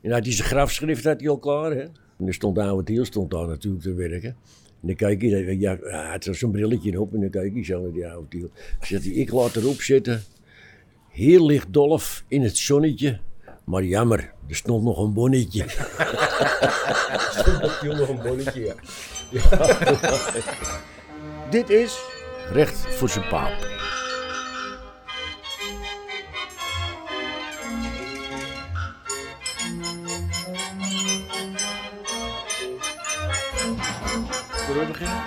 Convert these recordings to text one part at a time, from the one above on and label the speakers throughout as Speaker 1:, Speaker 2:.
Speaker 1: En had hij zijn grafschrift had hij al klaar. Hè? En er stond oude Tiel stond daar natuurlijk te werken. En dan kijk je, ja, hij had zo'n brilletje op en dan kijk je zo naar die oude Tiel. Zegt hij, ik laat erop zitten. Hier ligt Dolf in het zonnetje. Maar jammer, er stond nog een bonnetje.
Speaker 2: Stond nog een bonnetje, ja.
Speaker 1: Dit is Recht voor zijn paap.
Speaker 3: Zullen we beginnen?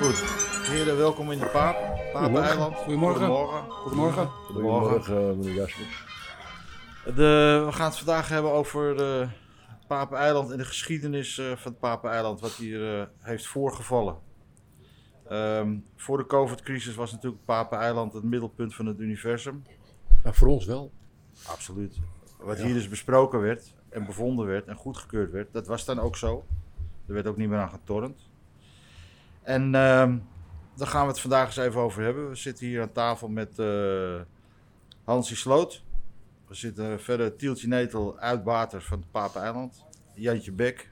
Speaker 4: Goed. Heren, welkom in de Paap. Papeneiland.
Speaker 3: Goedemorgen.
Speaker 4: Goedemorgen.
Speaker 3: Goedemorgen.
Speaker 4: Goedemorgen.
Speaker 1: Goedemorgen, meneer Jaspers.
Speaker 4: De, we gaan het vandaag hebben over eh Papeneiland en de geschiedenis eh, van het Papeneiland, wat hier eh, heeft voorgevallen. Ehm, voor de COVID-crisis was natuurlijk Papeneiland het middelpunt van het universum.
Speaker 2: Maar Nou, voor ons wel.
Speaker 4: Absoluut. Wat hier dus besproken werd en bevonden werd en goedgekeurd werd, dat was dan ook zo. Er werd ook niet meer aan getornd. En ehm, daar gaan we het vandaag eens even over hebben. We zitten hier aan tafel met eh Hansie Sloot. We zitten verder Tieltje Netel, uitbater van het Papeneiland. Jantje Bek,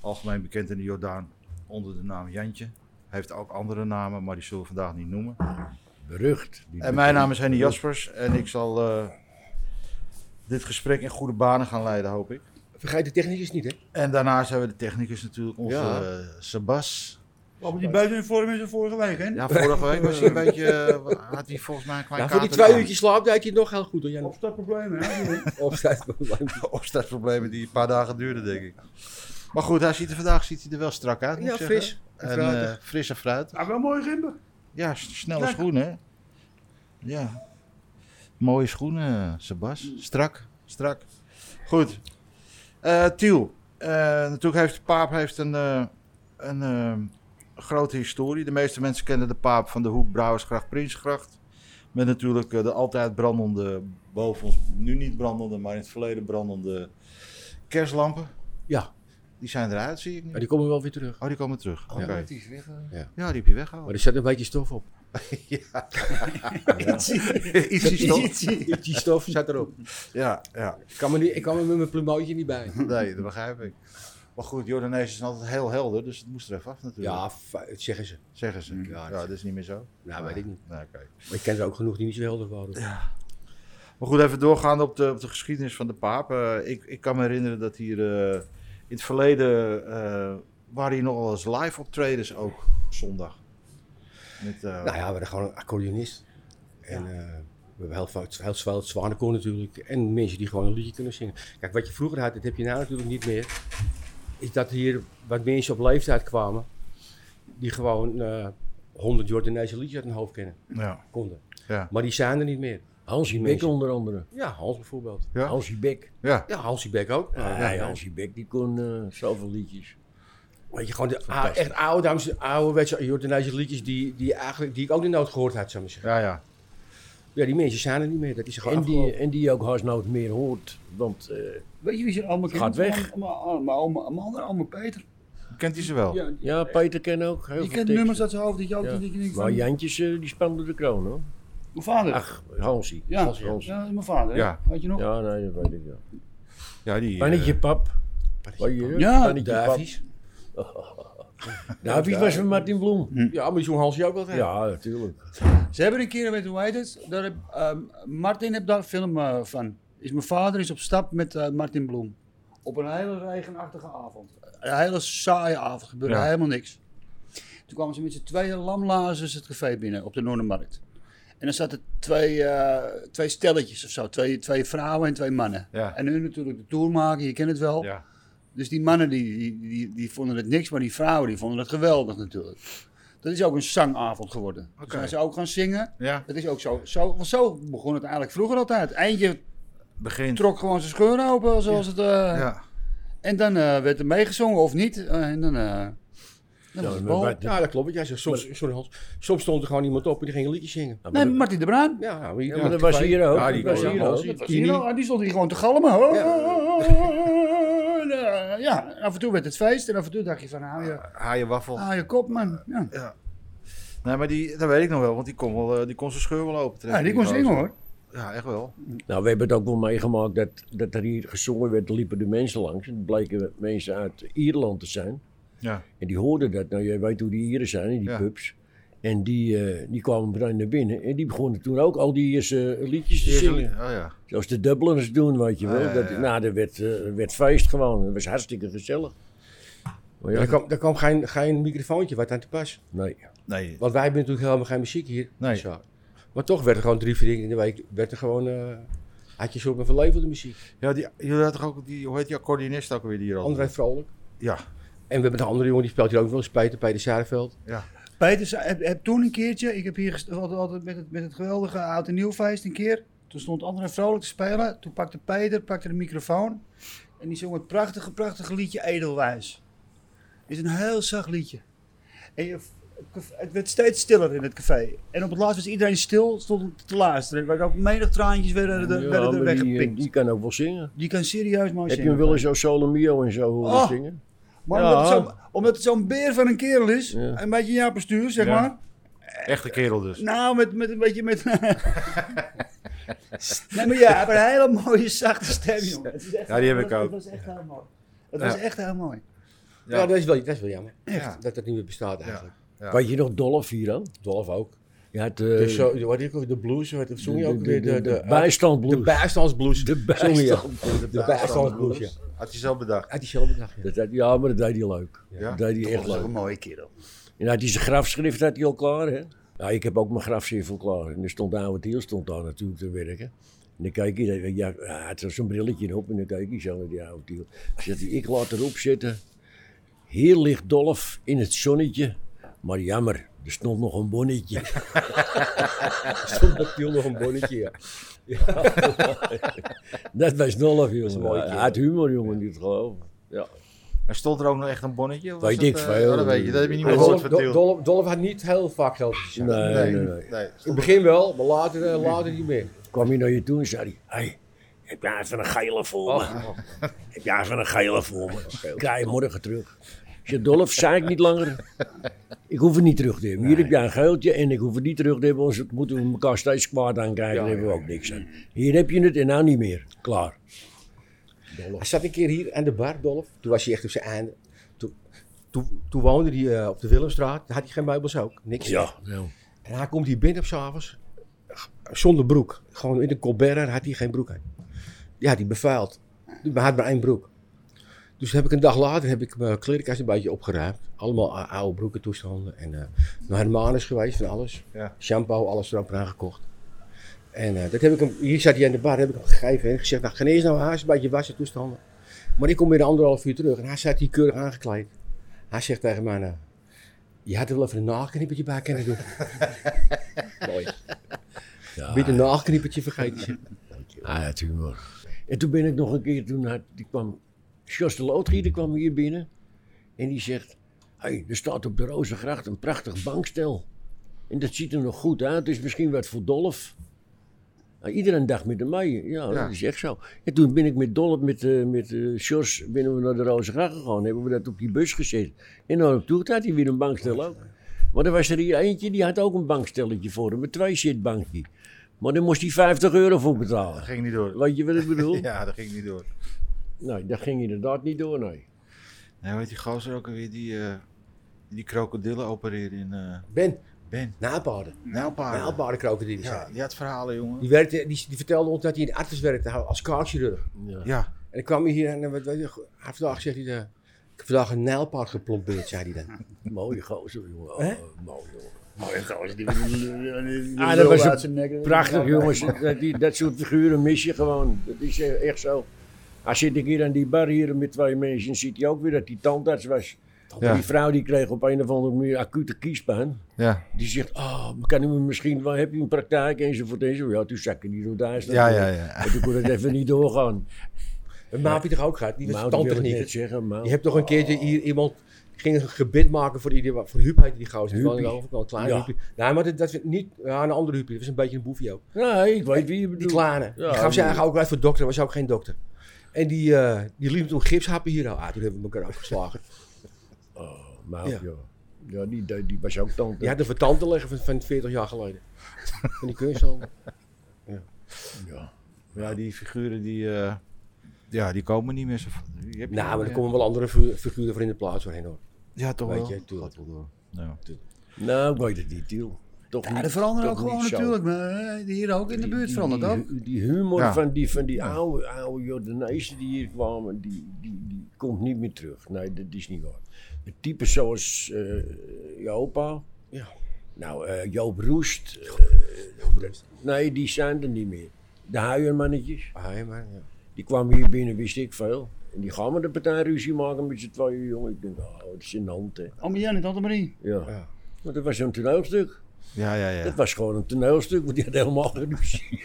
Speaker 4: algemeen bekend in de Jordaan onder de naam Jantje. Hij heeft ook andere namen, maar die zullen we vandaag niet noemen.
Speaker 1: Berucht. Die
Speaker 4: En mijn naam is Henny Jaspers en ik zal eh, dit gesprek in goede banen gaan leiden, hoop ik.
Speaker 2: Vergeet de technicus niet, hè?
Speaker 4: En daarnaast hebben we de technicus natuurlijk, onze
Speaker 2: Ja.
Speaker 4: eh, Sebas.
Speaker 5: Waarom die buiten in vorm is dan vorige week, hè?
Speaker 4: Ja, vorige week was hij een beetje, eh, had hij volgens mij een klein
Speaker 2: Ja, voor die
Speaker 4: kater
Speaker 2: twee
Speaker 4: aan.
Speaker 2: uurtjes slaap deed hij het nog heel goed, hoor. Jan.
Speaker 5: Of dat probleem, hè?
Speaker 2: Of zei het wel.
Speaker 4: Opstartproblemen die een paar dagen duurden, denk ik. Maar goed, hij ziet er vandaag ziet hij er wel strak uit, moet
Speaker 2: Ja,
Speaker 4: ik zeggen.
Speaker 2: fris. en
Speaker 4: En, eh
Speaker 2: fruitig.
Speaker 4: fris en fruit.
Speaker 5: Nou, wel mooi gimpen.
Speaker 4: Ja, s- snelle
Speaker 5: Strak.
Speaker 4: schoenen, hè? Ja. Mooie schoenen, eh, Sebas. Strak, strak. Goed. Eh, Tiel, eh, natuurlijk heeft de paap heeft een, eh, een eh, grote historie. De meeste mensen kennen de paap van de hoek Brouwersgracht, Prinsgracht. Met natuurlijk eh, de altijd brandende, boven ons, nu niet brandende, maar in het verleden brandende kerstlampen.
Speaker 2: Ja.
Speaker 4: Die zijn eruit, zie ik nu.
Speaker 2: Maar die komen wel weer terug.
Speaker 4: Oh, die komen terug. Oké.
Speaker 2: Ja.
Speaker 4: Ja, die heb je
Speaker 2: Maar
Speaker 4: weggehaald.
Speaker 2: er zit een beetje stof op.
Speaker 4: Iets is toch?
Speaker 2: Die stof zat erop.
Speaker 4: Ja, ja.
Speaker 2: Ik kan me, niet, ik kan me met mijn plumootje niet bij.
Speaker 4: Nee, dat begrijp ik. Maar goed, Jordanezen zijn altijd heel helder, dus het moest er even af natuurlijk.
Speaker 2: Ja, fa- het zeggen ze.
Speaker 4: Zeggen ze. Ja,
Speaker 2: Ja,
Speaker 4: dat is niet meer zo.
Speaker 2: Nou, weet ik niet.
Speaker 4: Nee, oké.
Speaker 2: Maar ik ken er ook genoeg die niet zo helder waren.
Speaker 4: Maar goed, even doorgaan op de, op de geschiedenis van de paap. Eh, ik, ik kan me herinneren dat hier eh, in het verleden eh, waren hier nogal eens live optredens ook, op zondag. Met, eh,
Speaker 2: Nou ja, we hadden gewoon een accordeonist. En eh, we hebben heel veel, heel veel het zwanenkoor natuurlijk. En mensen die gewoon een liedje kunnen zingen. Kijk, wat je vroeger had, dat heb je nou natuurlijk niet meer. Is dat hier wat mensen op leeftijd kwamen. Die gewoon eh 100 Jordaanese liedjes uit hun hoofd kennen,
Speaker 4: ja.
Speaker 2: konden.
Speaker 4: Ja.
Speaker 2: Maar die zijn er niet meer.
Speaker 1: Hansie
Speaker 2: Die
Speaker 1: Bek
Speaker 2: mensen.
Speaker 1: onder andere.
Speaker 2: Ja, Hans bijvoorbeeld.
Speaker 4: Ja.
Speaker 1: Hansie Bek.
Speaker 4: ja.
Speaker 2: Ja, Hansie Beck ook. Eh,
Speaker 1: Ja,
Speaker 2: Ja, ja.
Speaker 1: Hansie Bek die kon eh, zoveel liedjes.
Speaker 2: Weet je, gewoon de ou- echt oude, dames, ouderwetse Jordaanese liedjes die, die, eigenlijk, die ik ook niet nooit gehoord had, zou ik maar zeggen.
Speaker 4: Ja, ja.
Speaker 2: Ja, die mensen zijn er niet meer. Dat is gewoon
Speaker 1: En die,
Speaker 2: afgelopen.
Speaker 1: en die ook haast nooit meer hoort. Want eh,
Speaker 5: Weet je wie ze allemaal kennen?
Speaker 1: Gaat weg.
Speaker 5: Mijn andere, allemaal Peter.
Speaker 4: Kent hij ze wel?
Speaker 5: Ja, die
Speaker 1: ja, Peter ken ook heel
Speaker 5: die
Speaker 1: veel
Speaker 5: kent nummers
Speaker 1: teksten.
Speaker 5: uit zijn hoofd dat je ook
Speaker 1: Ja.
Speaker 5: dat je denkt
Speaker 1: Maar
Speaker 5: van...
Speaker 1: Jantjes eh, die spande de kroon hoor.
Speaker 5: Mijn vader.
Speaker 1: Ach, Hansie.
Speaker 5: ja,
Speaker 1: Hans,
Speaker 5: ja, dat
Speaker 1: Hans.
Speaker 5: is mijn vader. hè?
Speaker 4: Ja.
Speaker 5: Weet je nog?
Speaker 1: Ja, nee, dat weet ik wel.
Speaker 4: Ja, die. eh,
Speaker 1: Pannetje pap. Pannetje pap.
Speaker 5: Ja,
Speaker 1: Pannetje pap.
Speaker 2: Davies.
Speaker 1: Davies was van Martin Bloem.
Speaker 2: Ja, maar die zong Hansje ook altijd.
Speaker 1: Ja, natuurlijk. Nou,
Speaker 5: Ze hebben een keer, weet je hoe heet het? Daar heb, ehm, Martin heeft daar een film eh, van. Is mijn vader is op stap met eh, Martin Bloem. Op een hele regenachtige avond. Een hele saaie avond, gebeurde
Speaker 4: Ja.
Speaker 5: helemaal niks. Toen kwamen ze met z'n tweeën lamlazers het café binnen op de Noordermarkt. En dan zaten twee, eh, twee stelletjes of zo. Twee, twee vrouwen en twee mannen.
Speaker 4: Ja.
Speaker 5: En hun natuurlijk de tour maken, je kent het wel.
Speaker 4: Ja.
Speaker 5: Dus die mannen die, die, die, die vonden het niks, maar die vrouwen die vonden het geweldig natuurlijk. Dat is ook een zangavond geworden. Toen
Speaker 4: Oké.
Speaker 5: zijn ze ook gaan zingen.
Speaker 4: ja.
Speaker 5: Dat is ook zo. zo. Want zo begon het eigenlijk vroeger altijd. Eindje
Speaker 4: Begin.
Speaker 5: trok gewoon zijn scheur open, zoals het... eh,
Speaker 4: Ja.
Speaker 5: En dan eh, werd er meegezongen, of niet. Eh, en dan... eh, dan was
Speaker 1: maar
Speaker 5: het bal.
Speaker 1: wat-
Speaker 2: Ja, dat klopt. wat Jij zegt, soms, sorry, Hans, soms stond er gewoon iemand op en die ging een liedje zingen.
Speaker 1: Ja, maar
Speaker 5: Nee,
Speaker 1: dat-
Speaker 5: Martin de Bruin. Oh,
Speaker 2: Ja, maar, die-
Speaker 1: Ja, maar dat was hier ook.
Speaker 4: Ja, die
Speaker 1: Dat was
Speaker 4: kon je
Speaker 1: hier
Speaker 2: ook.
Speaker 1: ook.
Speaker 2: was
Speaker 5: Dat was
Speaker 2: Tini.
Speaker 5: hier al- ah, die stond hier gewoon te galmen. Oh, eh, Ja, en af en toe werd het feest. En af en toe dacht je van, hou je,
Speaker 4: Haaien-waffel.
Speaker 5: hou je kop, man. Ja,
Speaker 4: Nee, maar die, dat weet ik nog wel, want die kon, wel, eh, die kon zijn scheur wel open
Speaker 5: ja die Ah, kon zingen, hoor.
Speaker 4: Ja, echt wel.
Speaker 1: Nou, we hebben het ook wel meegemaakt dat, dat er hier gezongen werd, liepen de mensen langs. En het bleken mensen uit Ierland te zijn.
Speaker 4: Ja.
Speaker 1: En die hoorden dat. Nou, jij weet hoe die Ieren zijn in die
Speaker 4: Ja.
Speaker 1: pubs. En die, eh, die kwamen meteen naar binnen. En die begonnen toen ook al die Ierse liedjes te
Speaker 4: Eerst-
Speaker 1: zingen.
Speaker 4: Oh ja.
Speaker 1: Zoals de Dubliners doen, weet je wel.
Speaker 4: Ja, ja,
Speaker 1: Dat,
Speaker 4: ja.
Speaker 1: nou, er werd, eh, werd feest gewoon. Het was hartstikke gezellig. Maar ja,
Speaker 2: Daar kwam, daar kwam geen, geen microfoontje wat aan te pas.
Speaker 1: nee.
Speaker 4: Nee.
Speaker 2: Want wij hebben natuurlijk helemaal geen muziek hier.
Speaker 4: Nee.
Speaker 2: Zo. Maar toch werd er gewoon drie, vier dingen in de week. Werd er gewoon, eh, had je een soort van verlevelde muziek.
Speaker 4: Ja, die, jullie hadden toch ook die, hoe heet die accordeonist ook weer die hier al?
Speaker 2: André Vrolijk.
Speaker 4: Ja.
Speaker 2: En we hebben een andere jongen die speelt hier ook wel eens, Peter, Peter Saarveld.
Speaker 5: Peter, zei- heb, heb toen een keertje, ik heb hier gest- altijd, altijd met, het, met het geweldige oud en nieuw feest een keer. Toen stond André vrolijk te spelen. Toen pakte Peter pakte de microfoon. En die zong het prachtige, prachtige liedje Edelwijs. Het is een heel zacht liedje. En je, het werd steeds stiller in het café. En op het laatst was iedereen stil, stond te luisteren. Er waren ook menig traantjes werden, er-
Speaker 1: Ja, maar
Speaker 5: werden er
Speaker 1: die, eh,
Speaker 5: weggepikt.
Speaker 1: die
Speaker 5: Die,
Speaker 1: kan ook wel zingen.
Speaker 5: kan serieus mooi
Speaker 1: Heb je
Speaker 5: zingen.
Speaker 1: hem wel eens zo Solomio en zo horen
Speaker 5: Oh.
Speaker 1: zingen?
Speaker 5: Maar
Speaker 1: Ja.
Speaker 5: omdat, het zo, omdat het zo'n beer van een kerel is,
Speaker 1: Ja.
Speaker 5: een beetje jouw bestuur, zeg
Speaker 4: Ja.
Speaker 5: maar.
Speaker 4: Echte kerel dus.
Speaker 5: Nou, met, met een beetje met. nee, maar ja, hij heeft een hele mooie zachte stem, jongen. Het is echt-
Speaker 4: Ja, die heb ik
Speaker 5: het was-
Speaker 4: ook.
Speaker 5: Het was echt heel mooi. Het
Speaker 4: Ja.
Speaker 5: was echt heel mooi.
Speaker 4: Ja.
Speaker 2: Ja, dat, is wel, dat is wel jammer.
Speaker 4: Ja.
Speaker 2: Dat dat niet meer bestaat eigenlijk.
Speaker 4: Ja.
Speaker 1: Weet je nog Dolph hier dan?
Speaker 2: Dolf ook.
Speaker 1: Je had, eh,
Speaker 2: De, Dus zo, wat ik ook, de blues, wat zong je
Speaker 1: de-
Speaker 2: ook
Speaker 1: de-
Speaker 2: weer?
Speaker 1: de-
Speaker 2: De,
Speaker 1: de bijstandblues.
Speaker 2: De bijstandsblues.
Speaker 1: De
Speaker 2: zong je.
Speaker 1: bijstandblues.
Speaker 2: De bijstandsblues, ja.
Speaker 4: Had je zelf bedacht.
Speaker 2: Uit diezelfde dag, ja.
Speaker 1: Dat had- ja, maar dat deed hij leuk.
Speaker 4: Ja?
Speaker 1: Dat deed hij echt
Speaker 5: Dat was
Speaker 1: leuk.
Speaker 5: een mooie kerel.
Speaker 1: En had hij zijn grafschrift had hij al klaar, hè? Nou, ik heb ook mijn grafschrift al klaar. En er stond Oude Tiel stond daar natuurlijk te werken. En dan kijk je, eh, ja, hij had zo'n brilletje op en dan kijk je zo naar die Oude Tiel. Ik zeg, ik laat erop zitten. Hier ligt Dolf in het zonnetje. Maar jammer, er stond nog een bonnetje.
Speaker 2: Stond natuurlijk nog een bonnetje, ja.
Speaker 1: Dat was Dolf,
Speaker 2: een
Speaker 1: jongen.
Speaker 2: mooie
Speaker 1: Hij
Speaker 2: kerel.
Speaker 1: had humor, jongen, niet te geloven. Ja.
Speaker 4: En stond er ook nog echt een bonnetje? Of
Speaker 1: Weet
Speaker 4: was
Speaker 1: ik
Speaker 4: dat, eh,
Speaker 1: veel.
Speaker 4: oh, dat weet je, dat heb je niet meer
Speaker 1: Dolf-
Speaker 4: gehoord
Speaker 2: Dolf,
Speaker 4: van
Speaker 2: Dolf,
Speaker 4: Tiel.
Speaker 2: Dolf had niet heel vaak geld te zeggen.
Speaker 1: Nee, nee, nee.
Speaker 4: nee.
Speaker 2: In het begin wel, maar later, eh, later niet meer.
Speaker 1: Kwam hij naar je toe en zei hij, hey, heb jij even een geile voor me? Heb jij even een geile voor me? Ik rij morgen terug. Ik zei, Dolf, zei ik niet langer. Ik hoef het niet terug te hebben. Hier heb jij een geeltje en ik hoef het niet terug te hebben. Anders moeten we elkaar steeds kwaad aankijken. Daar hebben we ook niks aan. Hier heb je het en nou niet meer. Klaar.
Speaker 2: Hij zat een keer hier aan de bar, Dolf. Toen was hij echt op zijn einde. Toen, toen, toen woonde hij eh, op de Willemstraat. Daar had hij geen meubels ook. Niks.
Speaker 1: Ja. ja.
Speaker 2: En hij komt hier binnen op s'avonds. Zonder broek. Gewoon in de Colbert had hij geen broek aan. Ja, die bevuild. Hij had maar één broek. Dus heb ik een dag later heb ik mijn klerenkast een beetje opgeruimd. Allemaal ou- oude broeken toestanden. En eh naar Hermanus geweest van alles.
Speaker 4: Ja.
Speaker 2: Shampoo, alles erop aan gekocht. En eh, dat heb ik hem, hier zat hij aan de bar, heb ik hem gegeven. En gezegd, nou, ga eerst naar huis, een beetje wassen toestanden. Maar ik kom weer anderhalf uur terug. En hij zat hier keurig aangekleed. Hij zegt tegen mij, nou, je had er wel even een nageknippertje bij kunnen doen. Mooi.
Speaker 1: Ja.
Speaker 2: Beetje een nageknippertje vergeten.
Speaker 1: Ah, het humor. En toen ben ik nog een keer, toen had, die kwam, Jos de Loodgieter kwam hier binnen. En die zegt, hey, er staat op de Rozengracht een prachtig bankstel. En dat ziet er nog goed uit, dus misschien wat voor Dolf. Nou, iedereen dacht met de mei, ja,
Speaker 4: Ja.
Speaker 1: dat is echt zo. En toen ben ik met Dolf, met, eh met eh Sjors, binnen we naar de Rozengracht gegaan. Hebben we dat op die bus gezet. En dan op toe had hij weer een bankstel ook. Maar er was er hier eentje, die had ook een bankstelletje voor hem, een twee-zitbankje. Maar daar moest hij 50 euro voor betalen.
Speaker 4: Dat ging niet door.
Speaker 1: Weet je wat ik bedoel?
Speaker 4: Ja, dat ging niet door.
Speaker 1: Nee, dat ging inderdaad niet door, nee.
Speaker 4: Nee, weet die gozer ook alweer die, eh, die krokodillen opereren in eh,
Speaker 2: Ben,
Speaker 4: Ben.
Speaker 2: naalpaarden.
Speaker 1: Ah,
Speaker 4: Nijlpaarden.
Speaker 2: Naalpaarden krokodillen.
Speaker 4: Ja, die had verhalen, jongen.
Speaker 2: Die, werkte, die, die vertelde ons dat hij in de arts werkte als kaakchirurg.
Speaker 1: Ja.
Speaker 4: Ja.
Speaker 2: En dan kwam hij hier en eh, wat, weet je, hij vandaag zegt hij, eh, ik heb vandaag een nijlpaard geplombeerd, zei hij dan.
Speaker 1: Mooie gozer, jongen.
Speaker 2: Hè?
Speaker 1: Oh, mooi, jongen.
Speaker 5: Mooie gozer. Die, die,
Speaker 1: Ah, dat was een Prachtig, jongens. Dat, die, dat soort figuren mis je gewoon. Dat is eh, echt zo. Als zit ik hier aan die bar hier met twee mensen, ziet hij ook weer dat die tandarts was.
Speaker 4: Ja.
Speaker 1: Die vrouw die kreeg op een of andere manier acute kiespijn.
Speaker 4: Ja.
Speaker 1: Die zegt, oh, kan u me misschien, wel, heb je een praktijk enzovoort enzovoort. Ja, toen zag ik niet hoe daar staat.
Speaker 4: Ja, ja, ja.
Speaker 1: En toen kon het even niet doorgaan.
Speaker 2: En Maap toch ook gehad, die was
Speaker 1: Maar dat wil ik net
Speaker 2: tandtechnieker.
Speaker 1: zeggen, maar...
Speaker 2: Je hebt toch een keertje hier iemand, die ging een gebit maken voor, ieder, voor Huub heette die gozer. Die woonde
Speaker 1: Huubie.
Speaker 2: aan de overkant, kleine
Speaker 1: Ja.
Speaker 2: Huubie. Nee, maar dat, dat vind ik niet, ja, een andere Huubie, dat was een beetje een boefje ook.
Speaker 1: Nee, ik weet wie je
Speaker 2: Die
Speaker 1: bedoelt.
Speaker 2: kleine.
Speaker 1: Ja,
Speaker 2: die gaf
Speaker 1: die-
Speaker 2: zijn eigen ook uit voor dokter, was ook geen dokter. En die, eh, die liep toen gipshappen hier al uit. Toen hebben we elkaar afgeslagen.
Speaker 1: Maar ja.
Speaker 2: Ja.
Speaker 1: Ja. die, die, die was ook tante.
Speaker 2: Die had een vertand te leggen van, van 40 jaar geleden. Van die kunsthandel.
Speaker 4: Ja. ja, die figuren die, eh, ja, die komen niet meer zo... die heb je
Speaker 2: Nou, maar
Speaker 4: niet
Speaker 2: er
Speaker 4: meer.
Speaker 2: komen wel andere figu- figuren voor in de plaats voorheen hoor.
Speaker 4: Ja, toch
Speaker 2: Weet
Speaker 4: wel.
Speaker 2: je, tuurlijk.
Speaker 4: Gaat wel door. Ja.
Speaker 1: Nou, ik weet het niet, Tiel. Toch
Speaker 5: Ja,
Speaker 1: niet.
Speaker 5: er veranderen ook
Speaker 1: toch niet
Speaker 5: gewoon
Speaker 1: zo.
Speaker 5: natuurlijk. Maar eh, hier ook in de buurt verandert
Speaker 1: die,
Speaker 5: ook.
Speaker 1: Die, die humor
Speaker 4: Ja.
Speaker 1: van die, van die oude, oude Jordanezen die hier kwamen, die, die, die komt niet meer terug. Nee, dat is niet waar. De types zoals eh je opa,
Speaker 2: Ja.
Speaker 1: nou, eh, Joop Roest, eh, nee, die zijn er niet meer. De huiermannetjes,
Speaker 2: Ah, ja, maar, ja.
Speaker 1: die kwamen hier binnen, wist ik veel. En die gaan met de partij ruzie maken met z'n tweeën, jongen. Ik denk, oh, dat is in hand, hè.
Speaker 5: Allemaal Jan en Tante Marie.
Speaker 1: Ja.
Speaker 2: Ja.
Speaker 1: Want dat was zo'n toneelstuk.
Speaker 4: Ja, ja, ja.
Speaker 1: Dat was gewoon een toneelstuk, want die had helemaal geen ruzie.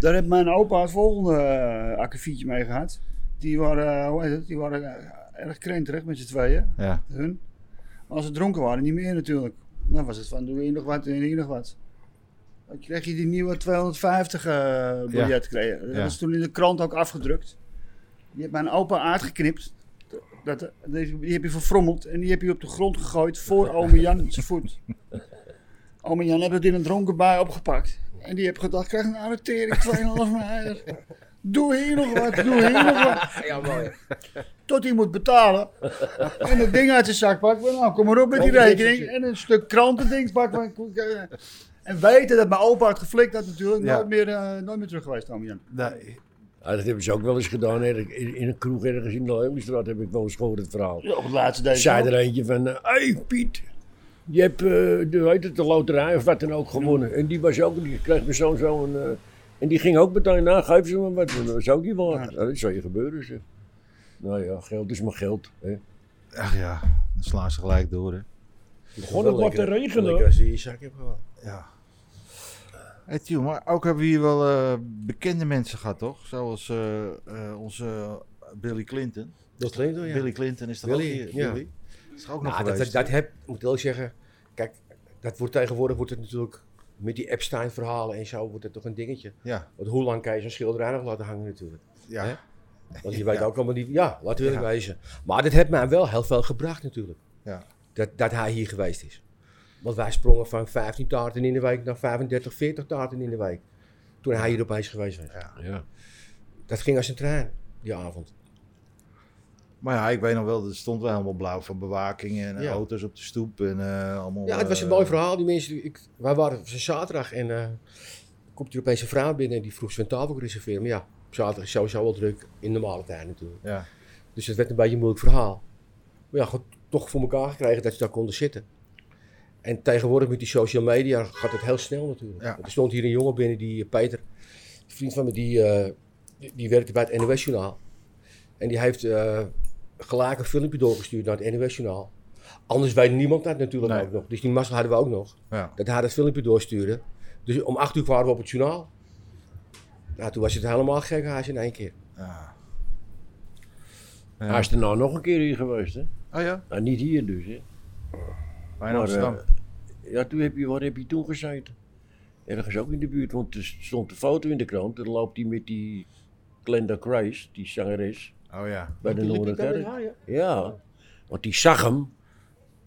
Speaker 5: Daar heeft mijn opa het volgende eh, akkefietje mee gehad. Die waren, eh, hoe heet het, die waren eh, erg krenterig met z'n tweeën.
Speaker 4: Ja,
Speaker 5: Hun. Maar als ze dronken waren, niet meer natuurlijk. Dan was het van, doe hier nog wat en hier nog wat. Dan kreeg je die nieuwe 250 eh biljet. Kreeg. Dat
Speaker 4: Ja.
Speaker 5: was toen in de krant ook afgedrukt. Die heeft mijn opa aardgeknipt. Dat, die die heb je verfrommeld en die heb je op de grond gegooid voor ome Jan zijn voet. Ome Jan heeft het in een dronken bui opgepakt. En die heb gedacht, krijg een arretering, 2,5 meijer. Doe hier nog wat, doe hier nog wat
Speaker 2: ja, mooi.
Speaker 5: tot hij moet betalen. En het ding uit zijn zak pakken. van, Nou, kom maar op met die rekening. En een stuk krantendings pakken. van, eh, En weten dat mijn opa het geflikt had natuurlijk.
Speaker 4: Ja.
Speaker 5: Nooit, meer, eh, nooit meer terug geweest, oom Jan.
Speaker 4: Nee,
Speaker 1: Ja, dat hebben ze ook wel eens gedaan. hè. In, in een kroeg ergens in de Leuwenstraat heb ik wel eens gehoord het verhaal.
Speaker 5: op het laatste deze.
Speaker 1: zei er eentje van, hé hey, Piet, je hebt eh, de, hoe heet het, de loterij of wat dan ook gewonnen. En die was ook, die kreeg me zo'n, zo'n eh, en die ging ook meteen na, geef ze me wat, want dat is ook niet waar. Ja, dat zou je gebeuren zeg. Nou ja, geld is maar geld. Hè.
Speaker 4: ach ja, dan slaan ze gelijk door, hè.
Speaker 1: Begon het wat te regenen.
Speaker 2: Lekker als je je zak hebt gehad.
Speaker 4: Ja. Hey, Tiel, maar ook hebben we hier wel eh, bekende mensen gehad, toch? Zoals eh, eh, onze Billy Clinton.
Speaker 2: Dat klinkt wel, Oh, ja.
Speaker 4: Billy Clinton is toch
Speaker 2: Billy,
Speaker 4: ook hier?
Speaker 2: ja.
Speaker 4: Billy? Is toch ook nog
Speaker 2: Nou, dat, dat,
Speaker 4: geweest?
Speaker 2: dat heb, ik moet wel zeggen, kijk, dat wordt tegenwoordig wordt het natuurlijk met die Epstein-verhalen en zo wordt het toch een dingetje.
Speaker 4: Ja,
Speaker 2: Want hoe lang kan je zo'n schilderij nog laten hangen natuurlijk?
Speaker 4: ja.
Speaker 2: Hè? Want je weet
Speaker 4: Ja.
Speaker 2: ook allemaal niet, ja, laten we
Speaker 4: Ja.
Speaker 2: eerlijk wezen. Maar dat heeft mij wel heel veel gebracht natuurlijk,
Speaker 4: Ja.
Speaker 2: dat, dat hij hier geweest is. Want wij sprongen van 15 taarten in de week naar 35, 40 taarten in de week. Toen hij hier opeens geweest was.
Speaker 1: Ja.
Speaker 2: Dat ging als een trein, die avond.
Speaker 4: Maar ja, ik weet nog wel, er stond wel helemaal blauw van bewaking en eh,
Speaker 2: Ja.
Speaker 4: auto's op de stoep en eh, allemaal...
Speaker 2: Ja, het was een
Speaker 4: eh,
Speaker 2: mooi verhaal. Die mensen, ik, wij waren op een zaterdag en eh komt er opeens een vrouw binnen en die vroeg ze een tafel te reserveren. Maar ja, op zaterdag is sowieso wel druk in normale tijd natuurlijk.
Speaker 4: Ja,
Speaker 2: Dus het werd een beetje een moeilijk verhaal. Maar ja, goed, toch voor elkaar gekregen dat ze daar konden zitten. En tegenwoordig met die social media gaat het heel snel natuurlijk.
Speaker 4: Ja.
Speaker 2: Want Er stond hier een jongen binnen, die eh, Peter, een vriend van me, die, eh, die, die werkte bij het NOS-journaal. En die heeft eh, gelijk een filmpje doorgestuurd naar het NOS-journaal. Anders weet niemand dat natuurlijk
Speaker 4: Nee.
Speaker 2: ook nog. Dus die massa hadden we ook nog.
Speaker 4: ja.
Speaker 2: Dat hij dat filmpje doorstuurde. Dus om acht uur waren we op het journaal. Nou, toen was het helemaal gek in één keer.
Speaker 4: ja.
Speaker 1: Hij is er nou nog een keer hier geweest, hè?
Speaker 4: Oh ja,
Speaker 1: Nou, niet hier dus, hè?
Speaker 4: wij in
Speaker 1: Maar,
Speaker 4: Amsterdam.
Speaker 1: Ja, toen heb je, waar heb je toen gezeten? Ergens ook in de buurt, want er stond een foto in de krant. Dan loopt hij met die Glenda Grace, die zangeres,
Speaker 4: oh ja.
Speaker 1: bij de
Speaker 2: eh, Die liep ik daar met
Speaker 1: Noorderkerk.
Speaker 2: haar, ja.
Speaker 1: Ja, want die zag hem.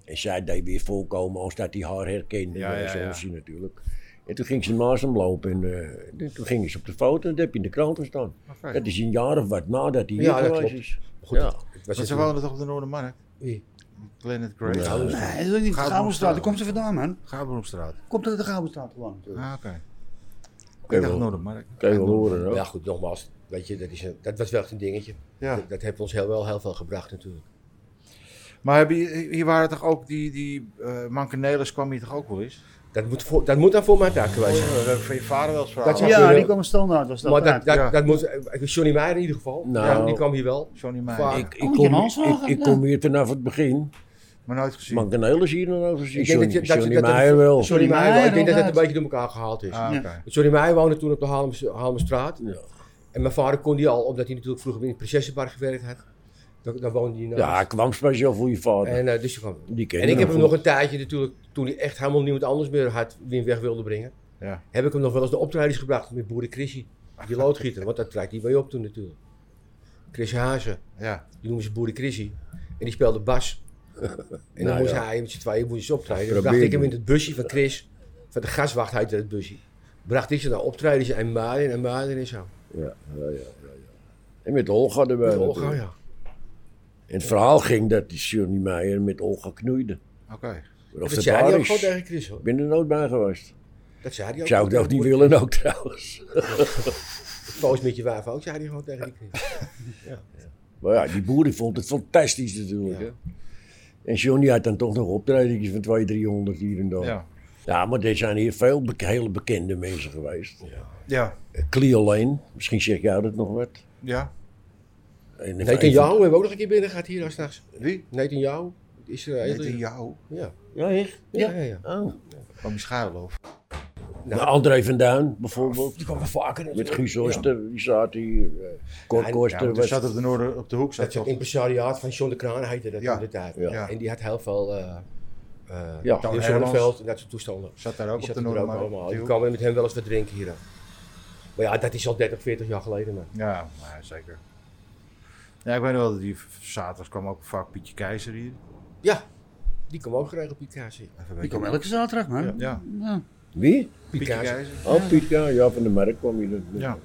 Speaker 1: En zij deed weer voorkomen als dat hij haar herkende.
Speaker 4: Ja,
Speaker 1: Ja,
Speaker 4: ja,
Speaker 1: ja,
Speaker 4: ja.
Speaker 1: natuurlijk. En toen ging ze naast hem lopen en eh, toen ging ze op de foto en dat heb je in de krant gestaan.
Speaker 4: Oké.
Speaker 1: Dat is een jaar of wat nadat hij hier
Speaker 2: Ja, dat
Speaker 1: geweest
Speaker 2: klopt.
Speaker 1: is.
Speaker 2: Goed,
Speaker 1: Ja.
Speaker 2: het- het was
Speaker 4: Want ze
Speaker 2: natuurlijk-
Speaker 4: wonen toch op de Noordermarkt?
Speaker 2: Wie?
Speaker 4: Planet Grey.
Speaker 1: Ja.
Speaker 4: Ja.
Speaker 5: Nee, dat is niet.
Speaker 4: Gaat
Speaker 5: Gamelstraat,
Speaker 4: Gamelstraat.
Speaker 5: daar komt ze vandaan, man.
Speaker 4: Gaberomstraat.
Speaker 5: Komt uit de Gamelstraat gewoon. natuurlijk.
Speaker 4: Ah, oké.
Speaker 1: Kun
Speaker 4: Ik
Speaker 1: je
Speaker 4: dacht
Speaker 1: wel,
Speaker 4: Noordermarkt.
Speaker 1: kun je wel horen hoor.
Speaker 2: Ja, goed, nogmaals. Weet je, dat, is een, dat was wel echt een dingetje.
Speaker 4: Ja.
Speaker 2: Dat, dat heeft ons heel, wel heel veel gebracht natuurlijk.
Speaker 4: Maar hebben je- hier waren toch ook die, die eh Mankenelis kwam hier toch ook wel eens? Oh,
Speaker 2: Dat moet, voor, dat moet dan voor mijn taak geweest
Speaker 4: We
Speaker 2: zijn.
Speaker 4: hebben van je vader wel eens
Speaker 2: Dat
Speaker 5: Ja,
Speaker 2: Ja,
Speaker 4: verhalen.
Speaker 2: kunnen-
Speaker 5: die kwam standaard, was dat.
Speaker 2: Maar dat, dat,
Speaker 4: ja.
Speaker 2: dat moet, eh, Johnny Meijer in ieder geval.
Speaker 1: Nou.
Speaker 2: Ja, die kwam hier wel.
Speaker 4: Johnny
Speaker 2: Vaak.
Speaker 4: Meijer.
Speaker 1: Ik,
Speaker 5: Oh,
Speaker 1: ik,
Speaker 5: moet je
Speaker 1: kom,
Speaker 5: Hans
Speaker 1: ik,
Speaker 5: vragen?
Speaker 1: ik
Speaker 5: Ja.
Speaker 1: kom hier vanaf het begin.
Speaker 4: Maar nooit gezien.
Speaker 1: Man kan heel hier nog over zien.
Speaker 2: Ik denk dat
Speaker 1: Johnny,
Speaker 2: je- dat je-
Speaker 1: Johnny
Speaker 2: dat er-
Speaker 1: Meijer wel.
Speaker 2: Johnny Meijer wel. Ik denk dat het
Speaker 5: inderdaad.
Speaker 2: een beetje door elkaar gehaald is.
Speaker 4: Ah,
Speaker 5: Ja.
Speaker 4: oké.
Speaker 2: Johnny Meijer woonde toen op de Haarlem- Haarlemstraat.
Speaker 1: Ja.
Speaker 2: En mijn vader kon die al, omdat hij natuurlijk vroeger in het Prinsessenpark gewerkt had. Dan, dan woonde hij naast.
Speaker 1: Ja, hij kwam speciaal voor je vader.
Speaker 2: En, eh, dus die kwam.
Speaker 1: die kende
Speaker 2: en ik heb hem
Speaker 1: goed.
Speaker 2: nog een tijdje natuurlijk, toen hij echt helemaal niemand anders meer had, wie hem weg wilde brengen.
Speaker 4: Ja.
Speaker 2: heb ik hem nog wel eens de optredens gebracht met boer Chrissy. Die loodgieter, want dat trekt hij bij op toen natuurlijk. Chris Hazen,
Speaker 4: Ja.
Speaker 2: die noemden ze boer Chrissy. En die speelde bas. En dan
Speaker 1: Nou
Speaker 2: moest
Speaker 1: ja.
Speaker 2: hij met z'n tweeën moest hij optreden.
Speaker 1: Dat
Speaker 2: Dan bracht ik
Speaker 1: probeerde
Speaker 2: hem in het busje van Chris. Van de gaswacht heette het busje. bracht ik ze naar optredens en maaien en maaien en zo. Oh,
Speaker 1: Ja, ja, ja, ja, ja. En met Olga erbij.
Speaker 2: Met Olga,
Speaker 1: natuurlijk.
Speaker 2: oh ja.
Speaker 1: En het verhaal ging dat die Johnny Meijer met Olga knoeide.
Speaker 4: Oké.
Speaker 1: Maar Of
Speaker 2: Dat
Speaker 1: dat
Speaker 2: zei hij
Speaker 1: waar
Speaker 2: ook gewoon
Speaker 1: is,
Speaker 2: tegen Chris hoor.
Speaker 1: ik ben er nooit bij geweest.
Speaker 2: Dat zei hij
Speaker 1: Ik
Speaker 2: ook.
Speaker 1: zou het ook niet willen ook trouwens.
Speaker 2: Foos met je wijf ook, zei hij gewoon tegen die Chris.
Speaker 1: Maar ja, die boer die vond het fantastisch natuurlijk.
Speaker 2: Ja.
Speaker 1: Hè? En Johnny had dan toch nog optredentjes van 200, 300 hier en daar. Ja.
Speaker 4: Ja.
Speaker 1: maar er zijn hier veel bek- hele bekende mensen geweest.
Speaker 4: Ja.
Speaker 1: Eh, Cleo Lane, misschien zeg jij dat nog wat.
Speaker 4: Ja.
Speaker 1: En
Speaker 2: Nathan Jou hebben we ook nog een keer binnen gehad hier s'nachts.
Speaker 4: Wie?
Speaker 2: Nathan Jou, Israël.
Speaker 4: Net in jou.
Speaker 2: Ja.
Speaker 1: Ja, echt?
Speaker 2: eh, Ja, ja, ja.
Speaker 1: Oh.
Speaker 4: Van Schuilhof.
Speaker 1: Nou, André van Duin bijvoorbeeld.
Speaker 2: Die kwamen vaker natuurlijk.
Speaker 1: Met Guus Horster, die zat hier. eh, Cor
Speaker 2: Ja,
Speaker 1: Koster
Speaker 4: Ja,
Speaker 1: was-
Speaker 4: dat zat op de, noorden, op de hoek. Zat
Speaker 2: Dat is het
Speaker 4: dat
Speaker 2: impresariaat van John de Kraan heette dat
Speaker 4: Ja.
Speaker 2: in de tijd.
Speaker 1: Ja.
Speaker 2: En die had heel veel eh eh
Speaker 1: Ja.
Speaker 2: Toon
Speaker 4: Hermans.
Speaker 2: Zonneveld en dat soort toestanden.
Speaker 4: zat daar ook
Speaker 2: Die
Speaker 4: op de
Speaker 2: zaten er ook allemaal.
Speaker 4: noorden.
Speaker 2: Die kwamen met hem wel eens wat drinken hier. Maar ja, dat is al 30, 40 jaar geleden. Man.
Speaker 4: Ja, maar zeker. Ja, ik weet nog wel dat die v- zaterdag kwam ook vaak Pietje Keizer hier.
Speaker 2: Ja, die kwam ook geregeld Piet Kaas hier.
Speaker 5: Die kwam elke zaterdag, man. Ja.
Speaker 4: Ja,
Speaker 1: Wie?
Speaker 4: Pietje
Speaker 2: Kaas.
Speaker 4: Keizer.
Speaker 1: Oh, Piet, ja, ja, van de Markt kwam Oh, je. Dat,
Speaker 4: Ja.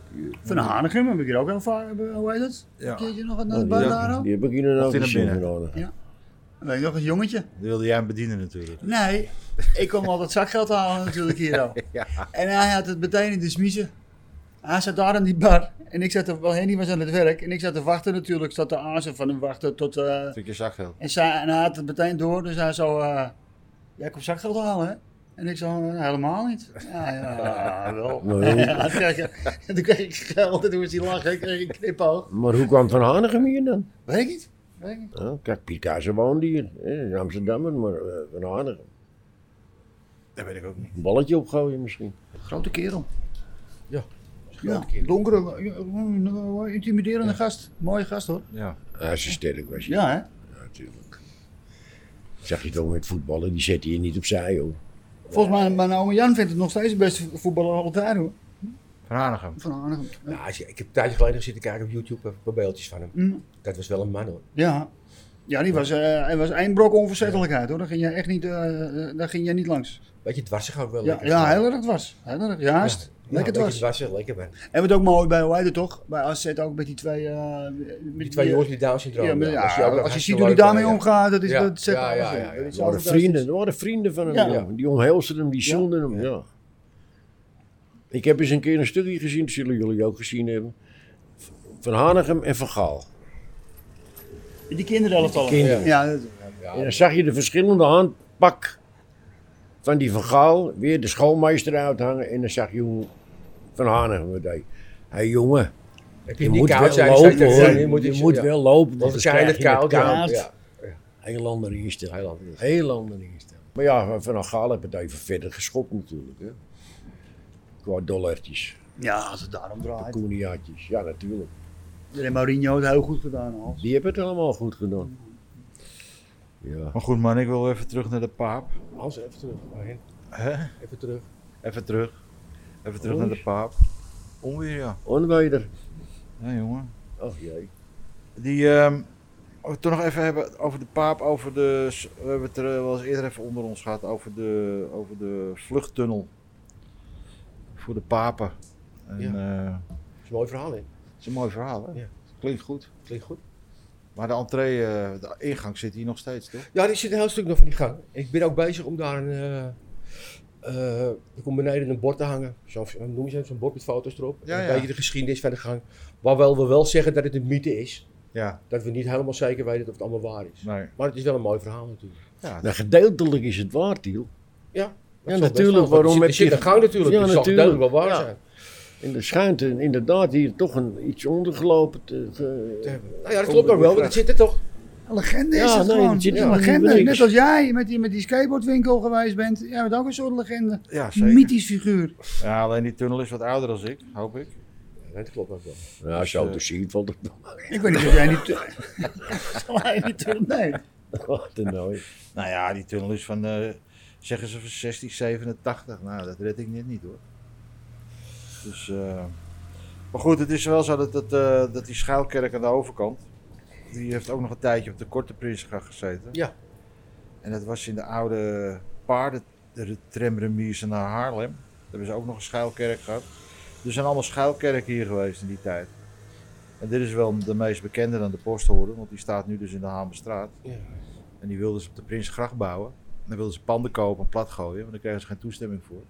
Speaker 5: Van Hanegem heb ik hier ook heel vaak, eh, hoe heet dat?
Speaker 4: Ja.
Speaker 5: Een eh, keertje nog naar
Speaker 1: Oh,
Speaker 5: de
Speaker 1: die-
Speaker 5: Bandaro.
Speaker 1: Die heb ik hier
Speaker 4: Of
Speaker 1: nog
Speaker 4: in
Speaker 1: niet
Speaker 4: hem
Speaker 1: zien
Speaker 4: binnen.
Speaker 1: nodig.
Speaker 5: Ja. Weet ik nog, een jongetje.
Speaker 4: Dat wilde jij hem bedienen natuurlijk.
Speaker 5: Nee, ik kwam altijd zakgeld halen natuurlijk hier al. En hij had het meteen in de smiezen. Hij zat daar aan die bar en ik zat er, wel Henny was aan het werk en ik zat te wachten natuurlijk, zat te aanzen van hem wachten tot... eh,
Speaker 4: Stukje zakgeld.
Speaker 5: en, zij, en hij had het meteen door, dus hij zo, eh jij komt zakgeld halen hè? En ik zo, "Eh, helemaal niet. Ja, ja wel.
Speaker 1: Maar hoe,
Speaker 5: Ja, kijk, en toen kreeg ik geld en toen was hij lachen en kreeg ik een knipoog.
Speaker 1: maar hoe kwam Van Hanegem hier dan?
Speaker 5: Weet ik niet. Weet ik niet.
Speaker 1: Ja, kijk, Piet Kaas woonde hier. hè, in Amsterdam, maar eh, Van Hanegem.
Speaker 4: Dat weet ik ook niet.
Speaker 1: Een balletje opgooien misschien.
Speaker 5: Grote kerel.
Speaker 2: Ja,
Speaker 5: Ja,
Speaker 2: kerel.
Speaker 5: donkere, ja, intimiderende gast. Mooie gast hoor.
Speaker 4: Ja.
Speaker 1: Ah, ze sterk was je,
Speaker 5: Ja, hè?
Speaker 1: natuurlijk. Zag je toch met voetballen, die zette je niet opzij hoor.
Speaker 5: Volgens mij, mijn oom Jan vindt het nog steeds de beste voetballer van altijd hoor.
Speaker 4: Van Hanegem.
Speaker 5: Van Arnhem.
Speaker 2: Nou, als je, ik heb een tijdje geleden zitten kijken op YouTube, een paar beeldjes van hem.
Speaker 5: Mm,
Speaker 2: Dat was wel een man hoor.
Speaker 5: Ja. Ja, die was, eh, hij was één brok onverzettelijkheid hoor. Daar ging jij echt niet, eh, eh, daar ging jij niet langs.
Speaker 2: Weet je, dwarsig ook wel.
Speaker 5: Ja,
Speaker 2: lekker.
Speaker 5: ja heel erg dwars. Heel erg, juist. Lekker
Speaker 2: ja,
Speaker 5: dwars.
Speaker 2: dwarsig, lekker man.
Speaker 5: En wat ook mooi bij Hoijden toch? Bij AZ ook met die twee... eh, met
Speaker 2: Die twee jongens die Down syndroom
Speaker 5: Ja, maar,
Speaker 2: hebben.
Speaker 5: ja,
Speaker 2: Dat
Speaker 5: als,
Speaker 2: is ook nog
Speaker 5: je
Speaker 2: hartstikke
Speaker 5: ziet hoe die
Speaker 2: leuk,
Speaker 5: daarmee
Speaker 2: ja.
Speaker 5: omgaat, dat is
Speaker 2: Ja,
Speaker 5: dat zegt
Speaker 2: ja,
Speaker 5: alles,
Speaker 2: ja,
Speaker 5: hè.
Speaker 2: ja, ja.
Speaker 5: Dat is
Speaker 1: Er waren
Speaker 5: altijd-
Speaker 1: vrienden, er waren vrienden van hem.
Speaker 5: Ja.
Speaker 1: ja. Die omhelsden hem, die
Speaker 5: Ja.
Speaker 1: zoenden hem. Ja. Ik heb eens een keer een stukje gezien, dat zullen jullie ook gezien hebben. Van Hanegem en Van Gaal.
Speaker 5: Die kinderelftallen.
Speaker 1: Kinderen.
Speaker 5: Ja, dat-
Speaker 1: En dan zag je de verschillende handpak van die Van Gaal, weer de schoolmeester uithangen. En dan zag je hoe Van Hanegem het deed. Hé jongen,
Speaker 2: Heb
Speaker 1: je
Speaker 2: niet
Speaker 1: moet
Speaker 2: koud
Speaker 1: wel
Speaker 2: zijn,
Speaker 1: lopen
Speaker 2: zei hij.
Speaker 1: hoor.
Speaker 2: Ja,
Speaker 1: Je moet,
Speaker 2: iets- ja.
Speaker 1: wel lopen,
Speaker 2: Want
Speaker 1: want
Speaker 2: we
Speaker 1: dan
Speaker 2: zijn
Speaker 1: krijg
Speaker 2: het
Speaker 1: je het
Speaker 2: koud. Ja,
Speaker 1: koud.
Speaker 2: ja.
Speaker 1: Heel ander instelling.
Speaker 2: Heel anders.
Speaker 1: Heel ander instelling. Maar ja, Van Gaal heeft het even verder geschopt natuurlijk. Hè. Qua dollartjes.
Speaker 5: ja, als het daarom draait.
Speaker 1: Koeniaatjes, ja natuurlijk.
Speaker 5: En Mourinho had het heel goed gedaan al.
Speaker 1: Die hebben het allemaal goed gedaan. Ja.
Speaker 4: Maar goed man, ik wil even terug naar de paap.
Speaker 2: Hans, even terug. Marijn.
Speaker 4: Hè?
Speaker 2: Even terug.
Speaker 4: Even terug. Even terug naar de paap. Onweer ja.
Speaker 1: Onweder.
Speaker 4: Ja jongen.
Speaker 1: Ach jee.
Speaker 4: Die, ehm we het toch nog even hebben over de paap, over de, s- we hebben het er eh, wel eens eerder even onder ons gehad, over de, over de vluchttunnel voor de papen. En,
Speaker 2: Ja.
Speaker 4: eh,
Speaker 2: Dat is een mooi verhaal, hè?
Speaker 4: het is een mooi verhaal hè?
Speaker 2: Ja.
Speaker 4: Klinkt goed.
Speaker 2: Klinkt goed.
Speaker 4: Maar de entree, eh, de ingang zit hier nog steeds toch?
Speaker 2: Ja, er zit een heel stuk nog van die gang. Ik ben ook bezig om daar een. eh eh, er komt beneden een bord te hangen. Zo'n, noem je het, zo'n bord met foto's erop.
Speaker 4: Ja,
Speaker 2: een
Speaker 4: ja.
Speaker 2: beetje de geschiedenis van de gang. Waarwel we wel zeggen dat het een mythe is.
Speaker 4: Ja.
Speaker 2: Dat we niet helemaal zeker weten of het allemaal waar is.
Speaker 4: Nee.
Speaker 2: Maar het is wel een mooi verhaal natuurlijk.
Speaker 4: Ja,
Speaker 1: Nou, gedeeltelijk is het waar, Tiel.
Speaker 2: Dat
Speaker 1: Ja,
Speaker 2: zal best
Speaker 1: natuurlijk,
Speaker 2: wel, want
Speaker 1: waarom
Speaker 2: er
Speaker 1: heb
Speaker 2: zit, er
Speaker 1: je-
Speaker 2: zit een gang natuurlijk.
Speaker 1: Ja,
Speaker 2: Ja, natuurlijk. zal
Speaker 1: natuurlijk.
Speaker 2: duidelijk wel
Speaker 1: Ja.
Speaker 2: waar zijn.
Speaker 1: En er schijnt eh, inderdaad hier toch een, iets ondergelopen te... te-
Speaker 2: Nou ja, dat klopt ook wel, want het zit er toch.
Speaker 5: Een legende is
Speaker 1: Ja,
Speaker 5: het
Speaker 1: nee,
Speaker 5: gewoon.
Speaker 1: het zit
Speaker 5: Ja,
Speaker 1: helemaal niet
Speaker 5: legende.
Speaker 1: niks.
Speaker 5: Net als jij met die, met die skateboardwinkel geweest bent. Jij bent ook een soort legende.
Speaker 4: ja zeker.
Speaker 5: Mythisch figuur.
Speaker 4: Ja, alleen die tunnel is wat ouder dan ik, hoop ik.
Speaker 2: Ja, dat klopt ook wel.
Speaker 1: nou, als je auto ziet, valt het nog
Speaker 5: Ik weet niet of jij niet... Zal hij niet terug? Nee.
Speaker 1: Wat een nooi.
Speaker 4: Nou ja, die tunnel is van, eh, zeggen ze van 1687. Nou, dat red ik net niet hoor. Dus, eh, maar goed, het is wel zo dat, dat, eh, dat die schuilkerk aan de overkant, die heeft ook nog een tijdje op de Korte Prinsengracht gezeten.
Speaker 2: Ja.
Speaker 4: En dat was in de oude paarden tramremise naar Haarlem. hebben ze ook nog een schuilkerk gehad. Er zijn allemaal schuilkerken hier geweest in die tijd. En dit is wel de meest bekende dan de posthoorn, want die staat nu dus in de Hamerstraat.
Speaker 2: Ja.
Speaker 4: En die wilden ze op de Prinsgracht bouwen. En dan wilden ze panden kopen en plat gooien, want daar kregen ze geen toestemming voor.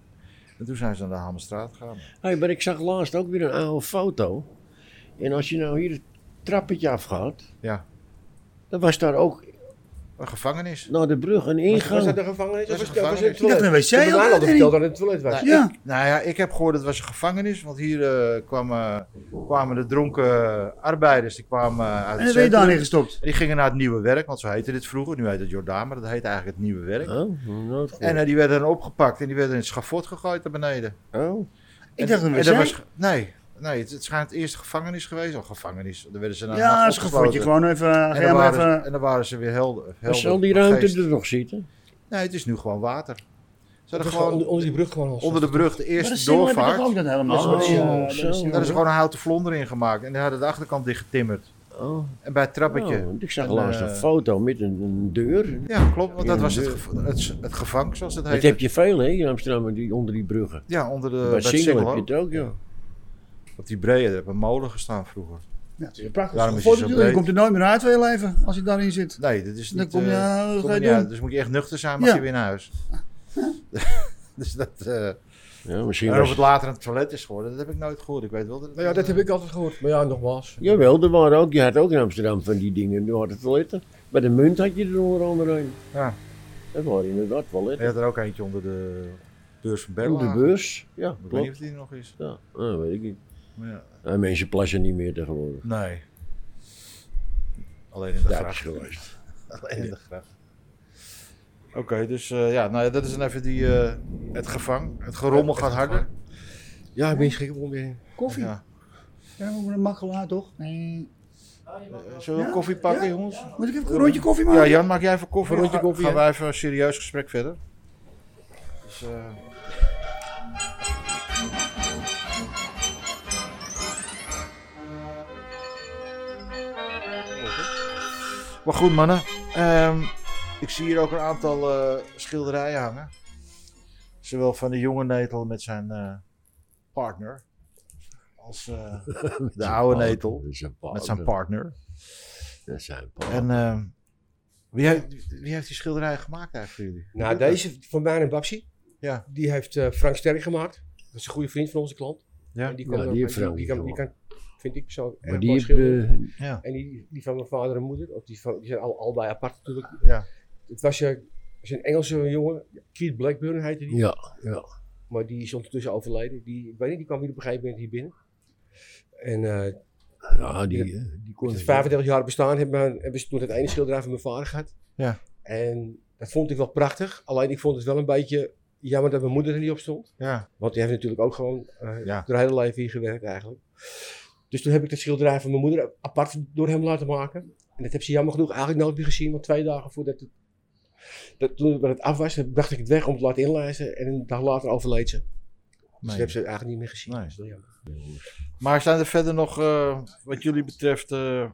Speaker 4: En toen zijn ze naar de Hamerstraat gegaan.
Speaker 1: Hey, maar ik zag laatst ook weer een oude foto. En als je nou hier het trappetje afgaat,
Speaker 4: Ja,
Speaker 1: dan was daar ook
Speaker 4: een gevangenis.
Speaker 1: naar de brug een
Speaker 2: Was, was
Speaker 1: ingang.
Speaker 2: dat de gevangenis?
Speaker 4: Dat
Speaker 2: Of
Speaker 4: is
Speaker 2: was,
Speaker 4: een
Speaker 2: dat was het
Speaker 4: gevangenis.
Speaker 5: Ik dacht
Speaker 2: toilet?
Speaker 5: een wc
Speaker 2: Ik
Speaker 5: had,
Speaker 2: heb me al
Speaker 5: hè,
Speaker 2: verteld dat het toilet was.
Speaker 4: Nou,
Speaker 5: Ja.
Speaker 4: Nou ja, ik heb gehoord dat het was een gevangenis, want hier eh, kwamen, kwamen de dronken arbeiders, die kwamen eh, uit het
Speaker 5: En dan ben je
Speaker 4: centrum.
Speaker 5: daarin gestopt.
Speaker 4: En die gingen naar het Nieuwe Werk, want zo heette dit vroeger. Nu heet het Jordaan, maar dat heet eigenlijk het Nieuwe Werk.
Speaker 1: Oh, nooit
Speaker 4: En
Speaker 1: gehoord.
Speaker 4: eh, die werden dan opgepakt en die werden in het schafot gegooid naar beneden.
Speaker 1: Oh,
Speaker 4: eh,
Speaker 5: Ik dacht
Speaker 4: en,
Speaker 5: een
Speaker 4: en dat was,
Speaker 5: wc.
Speaker 4: ge- Nee, nee het, het schijnt eerst gevangenis geweest. Of gevangenis, dan werden ze naar
Speaker 5: Ja, dat is een gevoeltje. Gewoon even, eh, ga
Speaker 4: En dan,
Speaker 5: jij maar
Speaker 4: waren ze,
Speaker 5: even...
Speaker 4: en dan waren ze weer helder.
Speaker 1: maar
Speaker 4: helder
Speaker 1: zal die
Speaker 4: van
Speaker 1: ruimte
Speaker 4: geest.
Speaker 1: er nog zitten?
Speaker 4: Nee, het is nu gewoon water. Ze
Speaker 2: Dat
Speaker 4: hadden
Speaker 2: was gewoon onder,
Speaker 4: gewoon
Speaker 2: onder die brug gewoon al.
Speaker 4: onder de brug de
Speaker 5: Maar dat
Speaker 4: eerste
Speaker 5: is helemaal- dat
Speaker 4: doorvaart.
Speaker 5: heb ik ook dat helemaal.
Speaker 1: Oh,
Speaker 5: Dat is, eh,
Speaker 1: zo.
Speaker 5: dat is-
Speaker 1: Daar
Speaker 4: Daar is gewoon een houten vlonder in gemaakt. En die hadden de achterkant dicht getimmerd.
Speaker 1: Oh,
Speaker 4: En bij het trappetje.
Speaker 1: oh, ik zag
Speaker 4: En,
Speaker 1: laatst
Speaker 4: eh,
Speaker 1: een foto met een, een deur.
Speaker 4: Ja, klopt. Want dat
Speaker 1: Ja,
Speaker 4: was het,
Speaker 1: deur.
Speaker 4: gev- het, het gevang, zoals het
Speaker 1: Dat
Speaker 4: heet.
Speaker 1: heb je veel, hè, in Amsterdam, die, onder die bruggen.
Speaker 4: Ja, onder de, Eh, bij
Speaker 1: Bij
Speaker 4: het
Speaker 1: Singel heb
Speaker 4: Singelo.
Speaker 1: je het ook, ja.
Speaker 4: Op die brede, daar hebben molen gestaan vroeger.
Speaker 5: Ja, het is een prachtig
Speaker 4: Daarom is
Speaker 5: gevoel
Speaker 4: hij zo
Speaker 5: natuurlijk. Je
Speaker 4: breed.
Speaker 5: komt er nooit meer uit van je leven als je daarin zit.
Speaker 4: Nee, dat is niet...
Speaker 5: Dan kom je,
Speaker 4: eh,
Speaker 5: eh, wat
Speaker 4: kom
Speaker 5: ga je
Speaker 4: niet uit.
Speaker 5: doen?
Speaker 4: Dus moet je echt nuchter zijn, mag
Speaker 5: Ja.
Speaker 4: je weer naar huis. dus dat... eh
Speaker 1: ja misschien
Speaker 4: en of
Speaker 1: was...
Speaker 4: het later een toilet is geworden, dat heb ik nooit gehoord. Ik weet wel dat...
Speaker 2: Nou ja, dat heb ik altijd gehoord. Maar ja, nogmaals.
Speaker 1: Jawel, er waren ook, je had ook in Amsterdam van die dingen, er waren toiletten. Bij de munt had je er onder andere een.
Speaker 4: Ja.
Speaker 1: Dat waren inderdaad
Speaker 4: Je
Speaker 1: toiletten.
Speaker 4: had er ook eentje onder de beurs van Berlage.
Speaker 1: Op de beurs, ja,
Speaker 4: Ik weet niet
Speaker 1: klopt.
Speaker 4: of die er nog is.
Speaker 1: Ja, dat weet ik niet.
Speaker 4: Maar ja.
Speaker 1: En mensen plassen niet meer tegenwoordig.
Speaker 4: Nee. Alleen in de
Speaker 1: Dat is
Speaker 4: gracht.
Speaker 1: geweest.
Speaker 4: Alleen in de gracht. Oké, dus eh, ja, nou ja, dat is dan even die, eh, het gevang. Het gerommel gaat harder.
Speaker 2: Ja, ik ben schrikken om weer.
Speaker 5: Koffie. Ja,
Speaker 4: Ja.
Speaker 5: we moeten een makkelaar toch? Nee.
Speaker 4: Eh, Zullen we koffie pakken, jongens?
Speaker 5: Moet ik even een rondje koffie
Speaker 4: Ja,
Speaker 5: maken?
Speaker 4: Jan, maak jij even koffie?
Speaker 2: Een rondje
Speaker 4: Ga-
Speaker 2: koffie,
Speaker 4: Gaan
Speaker 2: hè?
Speaker 4: wij even een serieus gesprek verder. Dus, eh, Maar goed, mannen. Ehm, ik zie hier ook een aantal eh, schilderijen hangen. Zowel van de jonge Netel met zijn eh, partner. Als eh, de oude Netel met zijn partner.
Speaker 1: Met zijn partner.
Speaker 4: En ehm, wie, heeft, wie heeft die schilderijen gemaakt eigenlijk voor jullie?
Speaker 2: Nou, deze van mij en Babsi.
Speaker 4: Ja.
Speaker 2: Die heeft eh, Frank Sterk gemaakt. Dat is een goede vriend van onze klant.
Speaker 4: Ja.
Speaker 2: En die,
Speaker 1: Ja,
Speaker 2: kan
Speaker 1: die
Speaker 2: ook-
Speaker 1: heeft Frank
Speaker 2: die, kan, die
Speaker 1: gemaakt.
Speaker 2: kan, vind ik zo erg
Speaker 1: Maar
Speaker 2: mooi
Speaker 1: die heb,
Speaker 2: schilderen.
Speaker 1: eh,
Speaker 4: Ja.
Speaker 2: En die, die van mijn vader en moeder, of die, van, die zijn al, allebei apart natuurlijk.
Speaker 4: Ja.
Speaker 2: Het was, eh, was een Engelse jongen, Keith Blackburn heette die.
Speaker 1: ja, ja.
Speaker 2: Maar die is ondertussen overleden. Die, ik weet niet, die kwam hier op een gegeven moment hier binnen. En eh,
Speaker 1: ja, die, eh, die kon
Speaker 2: het
Speaker 1: het
Speaker 2: 35 jaar bestaan hebben, we- hebben ze toen het ene schilderij van mijn vader gehad.
Speaker 4: Ja.
Speaker 2: En dat vond ik wel prachtig. Alleen ik vond het wel een beetje jammer dat mijn moeder er niet op stond.
Speaker 4: Ja.
Speaker 2: Want die heeft natuurlijk ook gewoon eh
Speaker 4: Ja.
Speaker 2: haar hele leven hier gewerkt eigenlijk. Dus toen heb ik dat schilderij van mijn moeder apart door hem laten maken. En dat heb ze jammer genoeg eigenlijk nooit meer gezien. Want twee dagen voordat het, dat, toen het af was, bracht ik het weg om het te laten inlijsten. En een dag later overleed ze. Dus dat
Speaker 4: Nee.
Speaker 2: heb ze eigenlijk niet meer gezien.
Speaker 4: Nee.
Speaker 2: Dat is wel jammer.
Speaker 4: Maar zijn er verder nog, eh, wat jullie betreft, eh, eh,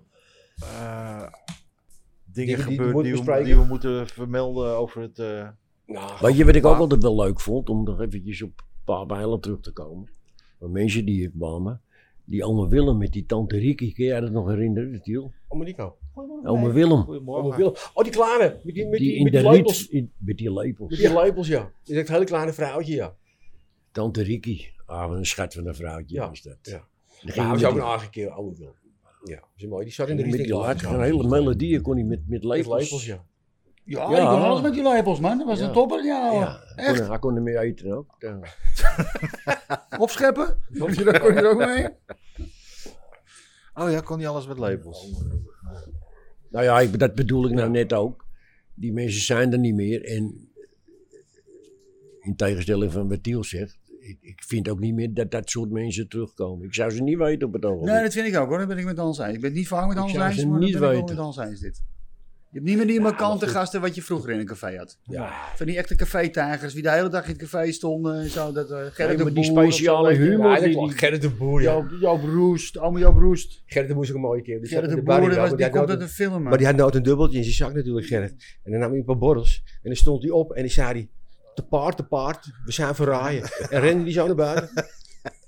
Speaker 4: dingen
Speaker 2: die- die
Speaker 4: gebeurd
Speaker 2: moeten
Speaker 4: die, we,
Speaker 2: bespreken?
Speaker 4: die we moeten vermelden over het... eh,
Speaker 2: Nou,
Speaker 1: Weet je wat ik ook altijd wel leuk vond? Om nog eventjes op Pa Bijlen terug te komen. Maar mensen die hier kwamen, die oma Willem met die tante Riki, kun jij dat nog herinneren, Tiel?
Speaker 2: Oma Nico.
Speaker 1: Oma Willem,
Speaker 2: Oma
Speaker 4: Goedemorgen.
Speaker 2: Willem. nou. Oh, die kleine. Met die, met die,
Speaker 1: die in
Speaker 2: met
Speaker 1: de
Speaker 2: die
Speaker 1: riet,
Speaker 2: lepels.
Speaker 1: in- met die lepels.
Speaker 2: Met Dus die lepels, ja. Dat is echt een hele kleine vrouwtje, ja.
Speaker 1: Tante Riki, ah, wat een schat van een vrouwtje
Speaker 2: Ja,
Speaker 1: was dat.
Speaker 2: ja.
Speaker 1: Dan ging
Speaker 2: Ja,
Speaker 1: je
Speaker 2: was ook
Speaker 1: met
Speaker 2: een aardige keer, oude Willem. Ja, dat is mooi. Die zat in de
Speaker 1: die, met
Speaker 2: richting.
Speaker 1: die laat,
Speaker 2: Ja.
Speaker 1: een hele melodie kon hij met, met
Speaker 2: Met
Speaker 1: lepels.
Speaker 2: lepels, ja.
Speaker 5: Ja,
Speaker 1: Ja.
Speaker 5: ik kon alles met die lepels, man. Dat was
Speaker 1: Ja.
Speaker 5: een topper. Ja,
Speaker 1: Ja, hij kon-
Speaker 5: echt.
Speaker 1: hij kon ermee eten ook. Ja.
Speaker 5: Opscheppen. Daar kon je er ook mee.
Speaker 4: Oh ja, kon niet alles met labels.
Speaker 1: Nou ja, ik, dat bedoel ik nou net ook. Die mensen zijn er niet meer. En in tegenstelling van wat Tiel zegt, ik, ik vind ook niet meer dat dat soort mensen terugkomen. Ik zou ze niet weten op het ogenblik.
Speaker 5: Nee, dat vind ik ook hoor. Dat ben ik met Hans eens. Ik ben het niet vaak met
Speaker 1: Ik
Speaker 5: Hans
Speaker 1: zou
Speaker 5: eens,
Speaker 1: ze
Speaker 5: maar dat
Speaker 1: niet
Speaker 5: ben ik wel
Speaker 1: weten.
Speaker 5: met Hans eens dit. Je hebt niet meer die markante gasten wat je vroeger in een café had. Van die echte café-tijgers, die de hele dag in het café stonden en zo. Dat, eh Gerrit
Speaker 1: Nee,
Speaker 5: de
Speaker 1: maar die
Speaker 5: Boer of zo,
Speaker 1: speciale
Speaker 5: weet je.
Speaker 1: humor.
Speaker 2: Ja, dat
Speaker 1: die-
Speaker 2: klopt.
Speaker 1: die-
Speaker 2: Gerrit de Boer, ja.
Speaker 5: Joop, Joop Roest, allemaal Joop Roest.
Speaker 2: Gerrit de Boer is ook een mooie keer. Die zat
Speaker 5: Gerrit
Speaker 2: in
Speaker 5: de
Speaker 2: bar
Speaker 5: Boer, dat
Speaker 2: hier,
Speaker 5: was-
Speaker 2: maar
Speaker 5: die
Speaker 2: had
Speaker 5: komt uit
Speaker 2: nooit
Speaker 5: een film.
Speaker 2: een- Maar
Speaker 5: man.
Speaker 2: die had nooit een dubbeltje in zijn zak natuurlijk, Gerrit. En dan nam hij een paar borrels. En dan stond hij op en dan zei hij... Te paard, te paard. We zijn verraaien. en rende die zo naar buiten.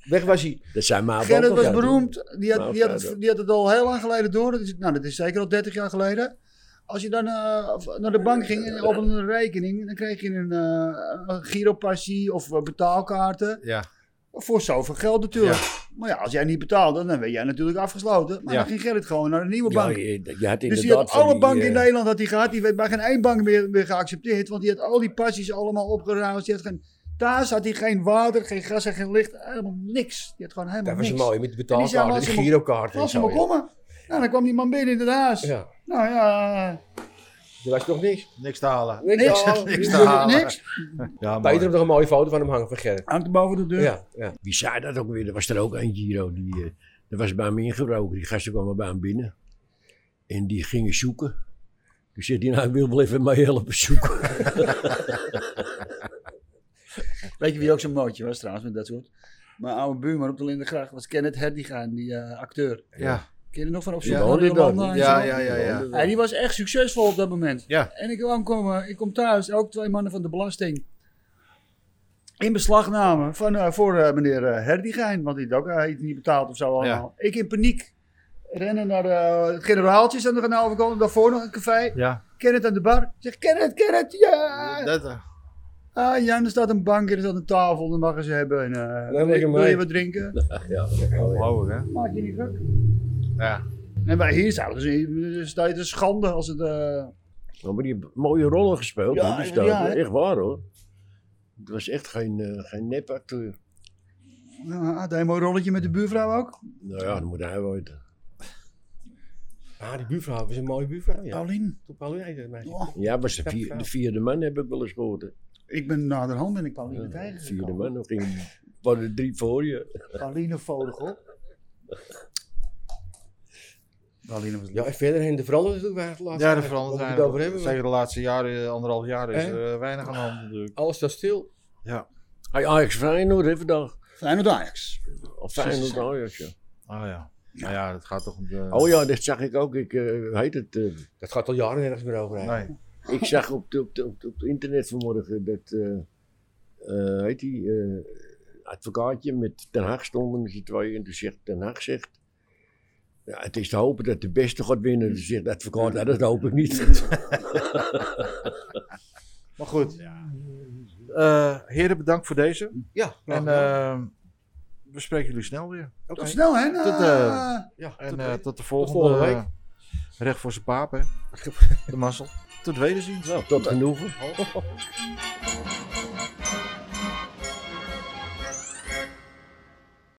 Speaker 2: Weg was hij.
Speaker 1: Dat zijn maar
Speaker 5: Gerrit
Speaker 1: ook nog
Speaker 5: was
Speaker 1: aan doen.
Speaker 5: beroemd. Die had,
Speaker 1: Nou,
Speaker 5: die, had het,
Speaker 1: verder.
Speaker 5: die had het al heel lang geleden door. Dat is, nou, dat is zeker al 30 jaar geleden. Als je dan eh, naar de bank ging en opende een rekening, dan kreeg je een, eh een giropassie of eh, betaalkaarten.
Speaker 2: Ja.
Speaker 5: Voor zoveel geld natuurlijk. Maar ja, als jij niet betaalde, dan werd jij natuurlijk afgesloten. Maar
Speaker 2: Ja.
Speaker 5: dan ging Gerrit gewoon naar een nieuwe
Speaker 1: Ja,
Speaker 5: bank.
Speaker 1: je, je had
Speaker 5: Dus die had
Speaker 1: inderdaad van
Speaker 5: alle
Speaker 1: die,
Speaker 5: banken in
Speaker 1: eh,
Speaker 5: Nederland had hij gehad. Die werd bij geen één bank meer, meer geaccepteerd. Want die had al die passies allemaal opgeruimd. Die had geen thuis, had hij geen water, geen gas en geen licht. Helemaal niks. Die had gewoon helemaal
Speaker 2: Dat was
Speaker 5: niks.
Speaker 2: mooi. Met de
Speaker 5: En die zei,
Speaker 2: betaalkaart en de
Speaker 5: laat ze maar-
Speaker 2: girokaart en
Speaker 5: Als ze
Speaker 2: zo.
Speaker 5: maar
Speaker 2: ja.
Speaker 5: komen. Nou, dan kwam die man binnen in het huis.
Speaker 2: Ja.
Speaker 5: Nou ja,
Speaker 2: Er was nog niks.
Speaker 4: Niks te halen.
Speaker 5: niks.
Speaker 2: Ja,
Speaker 4: Niks te halen.
Speaker 5: niks.
Speaker 4: Ja,
Speaker 2: Peter heeft
Speaker 4: mooi. Mm.
Speaker 2: nog een mooie foto van hem hangen van Gerrit.
Speaker 5: Hangt boven de deur.
Speaker 2: Ja, ja.
Speaker 1: Wie zei dat ook weer? Er was er ook een Giro. Die, eh, dat was bij me ingebroken. Die gasten kwamen bij hem binnen. En die gingen zoeken. Toen zegt hij, nou, ik wil wel even mij helpen zoeken.
Speaker 5: Weet je wie ook zo'n mootje was trouwens met dat soort? Mijn oude buurman op de Lindengracht was Kenneth Herdigaan, die eh, acteur.
Speaker 4: Ja,
Speaker 5: Ken je nog van op
Speaker 1: Die
Speaker 5: zijn
Speaker 1: woonde daar.
Speaker 4: ja, ja, ja. ja.
Speaker 5: Hij die was echt succesvol op dat moment.
Speaker 4: Ja.
Speaker 5: En ik kwam, kom, eh, ik kom thuis, ook twee mannen van de belasting. In beslagname van, eh, voor eh, meneer eh, Herdigijn, want die had ook eh, iets niet betaald of zo allemaal. Ik in paniek. Rennen naar eh, het generaaltje, zijn er aan de overkant, daarvoor nog een café.
Speaker 4: Ja,
Speaker 5: Kenneth aan de bar. Zeg, Kenneth, Kenneth, ja!
Speaker 4: dat, eh,
Speaker 5: Ah, Jan, er staat een bank, er staat een tafel, dan mag je ze hebben. En, eh,
Speaker 2: Leuk
Speaker 5: wil, je-
Speaker 2: mee.
Speaker 5: wil je wat drinken?
Speaker 4: ongelooflijk hè.
Speaker 5: Maak je niet druk.
Speaker 4: Ja.
Speaker 5: En bij hier zouden ze, staat het een schande als het... eh,
Speaker 1: Ja, maar die hebben mooie rollen gespeeld.
Speaker 5: Ja,
Speaker 1: hoor, die staat,
Speaker 5: ja, hè?
Speaker 1: echt waar hoor. Het was echt geen, eh, geen nepacteur.
Speaker 5: Nou, had hij een mooi rolletje met de buurvrouw ook?
Speaker 1: Nou ja, dat moet hij wel weten.
Speaker 2: Ah, die buurvrouw was een mooie buurvrouw. Ja.
Speaker 4: Oh.
Speaker 5: Paulien.
Speaker 2: Toen Paulien heette het meisje.
Speaker 5: Oh,
Speaker 1: Ja, was de,
Speaker 2: Ja,
Speaker 1: vier-
Speaker 2: vrouw.
Speaker 1: de vierde man heb ik wel eens gehoord. hè.
Speaker 5: ik ben naderhand ben ik Pauline
Speaker 1: Ja, de
Speaker 5: tegen.
Speaker 1: vierde man, nog ging waren er drie voor je.
Speaker 5: Pauline Vogel. Pauline was
Speaker 2: Ja, en verder heen, de veranderde natuurlijk waar het laatste.
Speaker 4: Ja, dat verandert
Speaker 2: Waar we het over
Speaker 4: eigenlijk.
Speaker 2: hebben.
Speaker 4: Zeker de laatste jaren, eh, anderhalf jaar, is
Speaker 2: Eh?
Speaker 4: er eh, weinig aan de hand natuurlijk.
Speaker 2: Alles staat stil.
Speaker 4: Ja.
Speaker 1: Hij Ajax Feyenoord hè, vandaag.
Speaker 5: Feyenoord Ajax.
Speaker 1: Of Feyenoord Ajax, ja.
Speaker 4: Oh ja. Nou ja, dat gaat toch om de...
Speaker 1: Oh ja, dat zag ik ook. Ik, eh, hoe heet het, eh,
Speaker 2: Dat gaat al jaren nergens meer over. eigenlijk.
Speaker 4: Nee.
Speaker 1: Ik zag op het op de- op de- op het internet vanmorgen dat, eh eh, heet die, eh, advocaatje met Ten Haag stonden met z'n tweeën. En toen zegt Ten Haag, zegt, ja, het is te hopen dat de beste gaat winnen. Toen zegt de advocaat, nou, dat hoop ik niet.
Speaker 4: Maar goed. Eh, heren, bedankt voor deze.
Speaker 2: Ja, nou, graag
Speaker 4: En
Speaker 2: gedaan.
Speaker 4: eh, we spreken jullie snel weer.
Speaker 2: Oké.
Speaker 5: Tot snel, hè? Ah.
Speaker 4: Tot, eh,
Speaker 2: Ja,
Speaker 4: En
Speaker 2: tot
Speaker 4: eh,
Speaker 2: weet.
Speaker 4: tot de volgende,
Speaker 2: volgende week.
Speaker 4: eh,
Speaker 1: Nou,
Speaker 4: recht voor zijn paap, hè. De mazzel. Tot wederzien.
Speaker 1: Tot genoegen.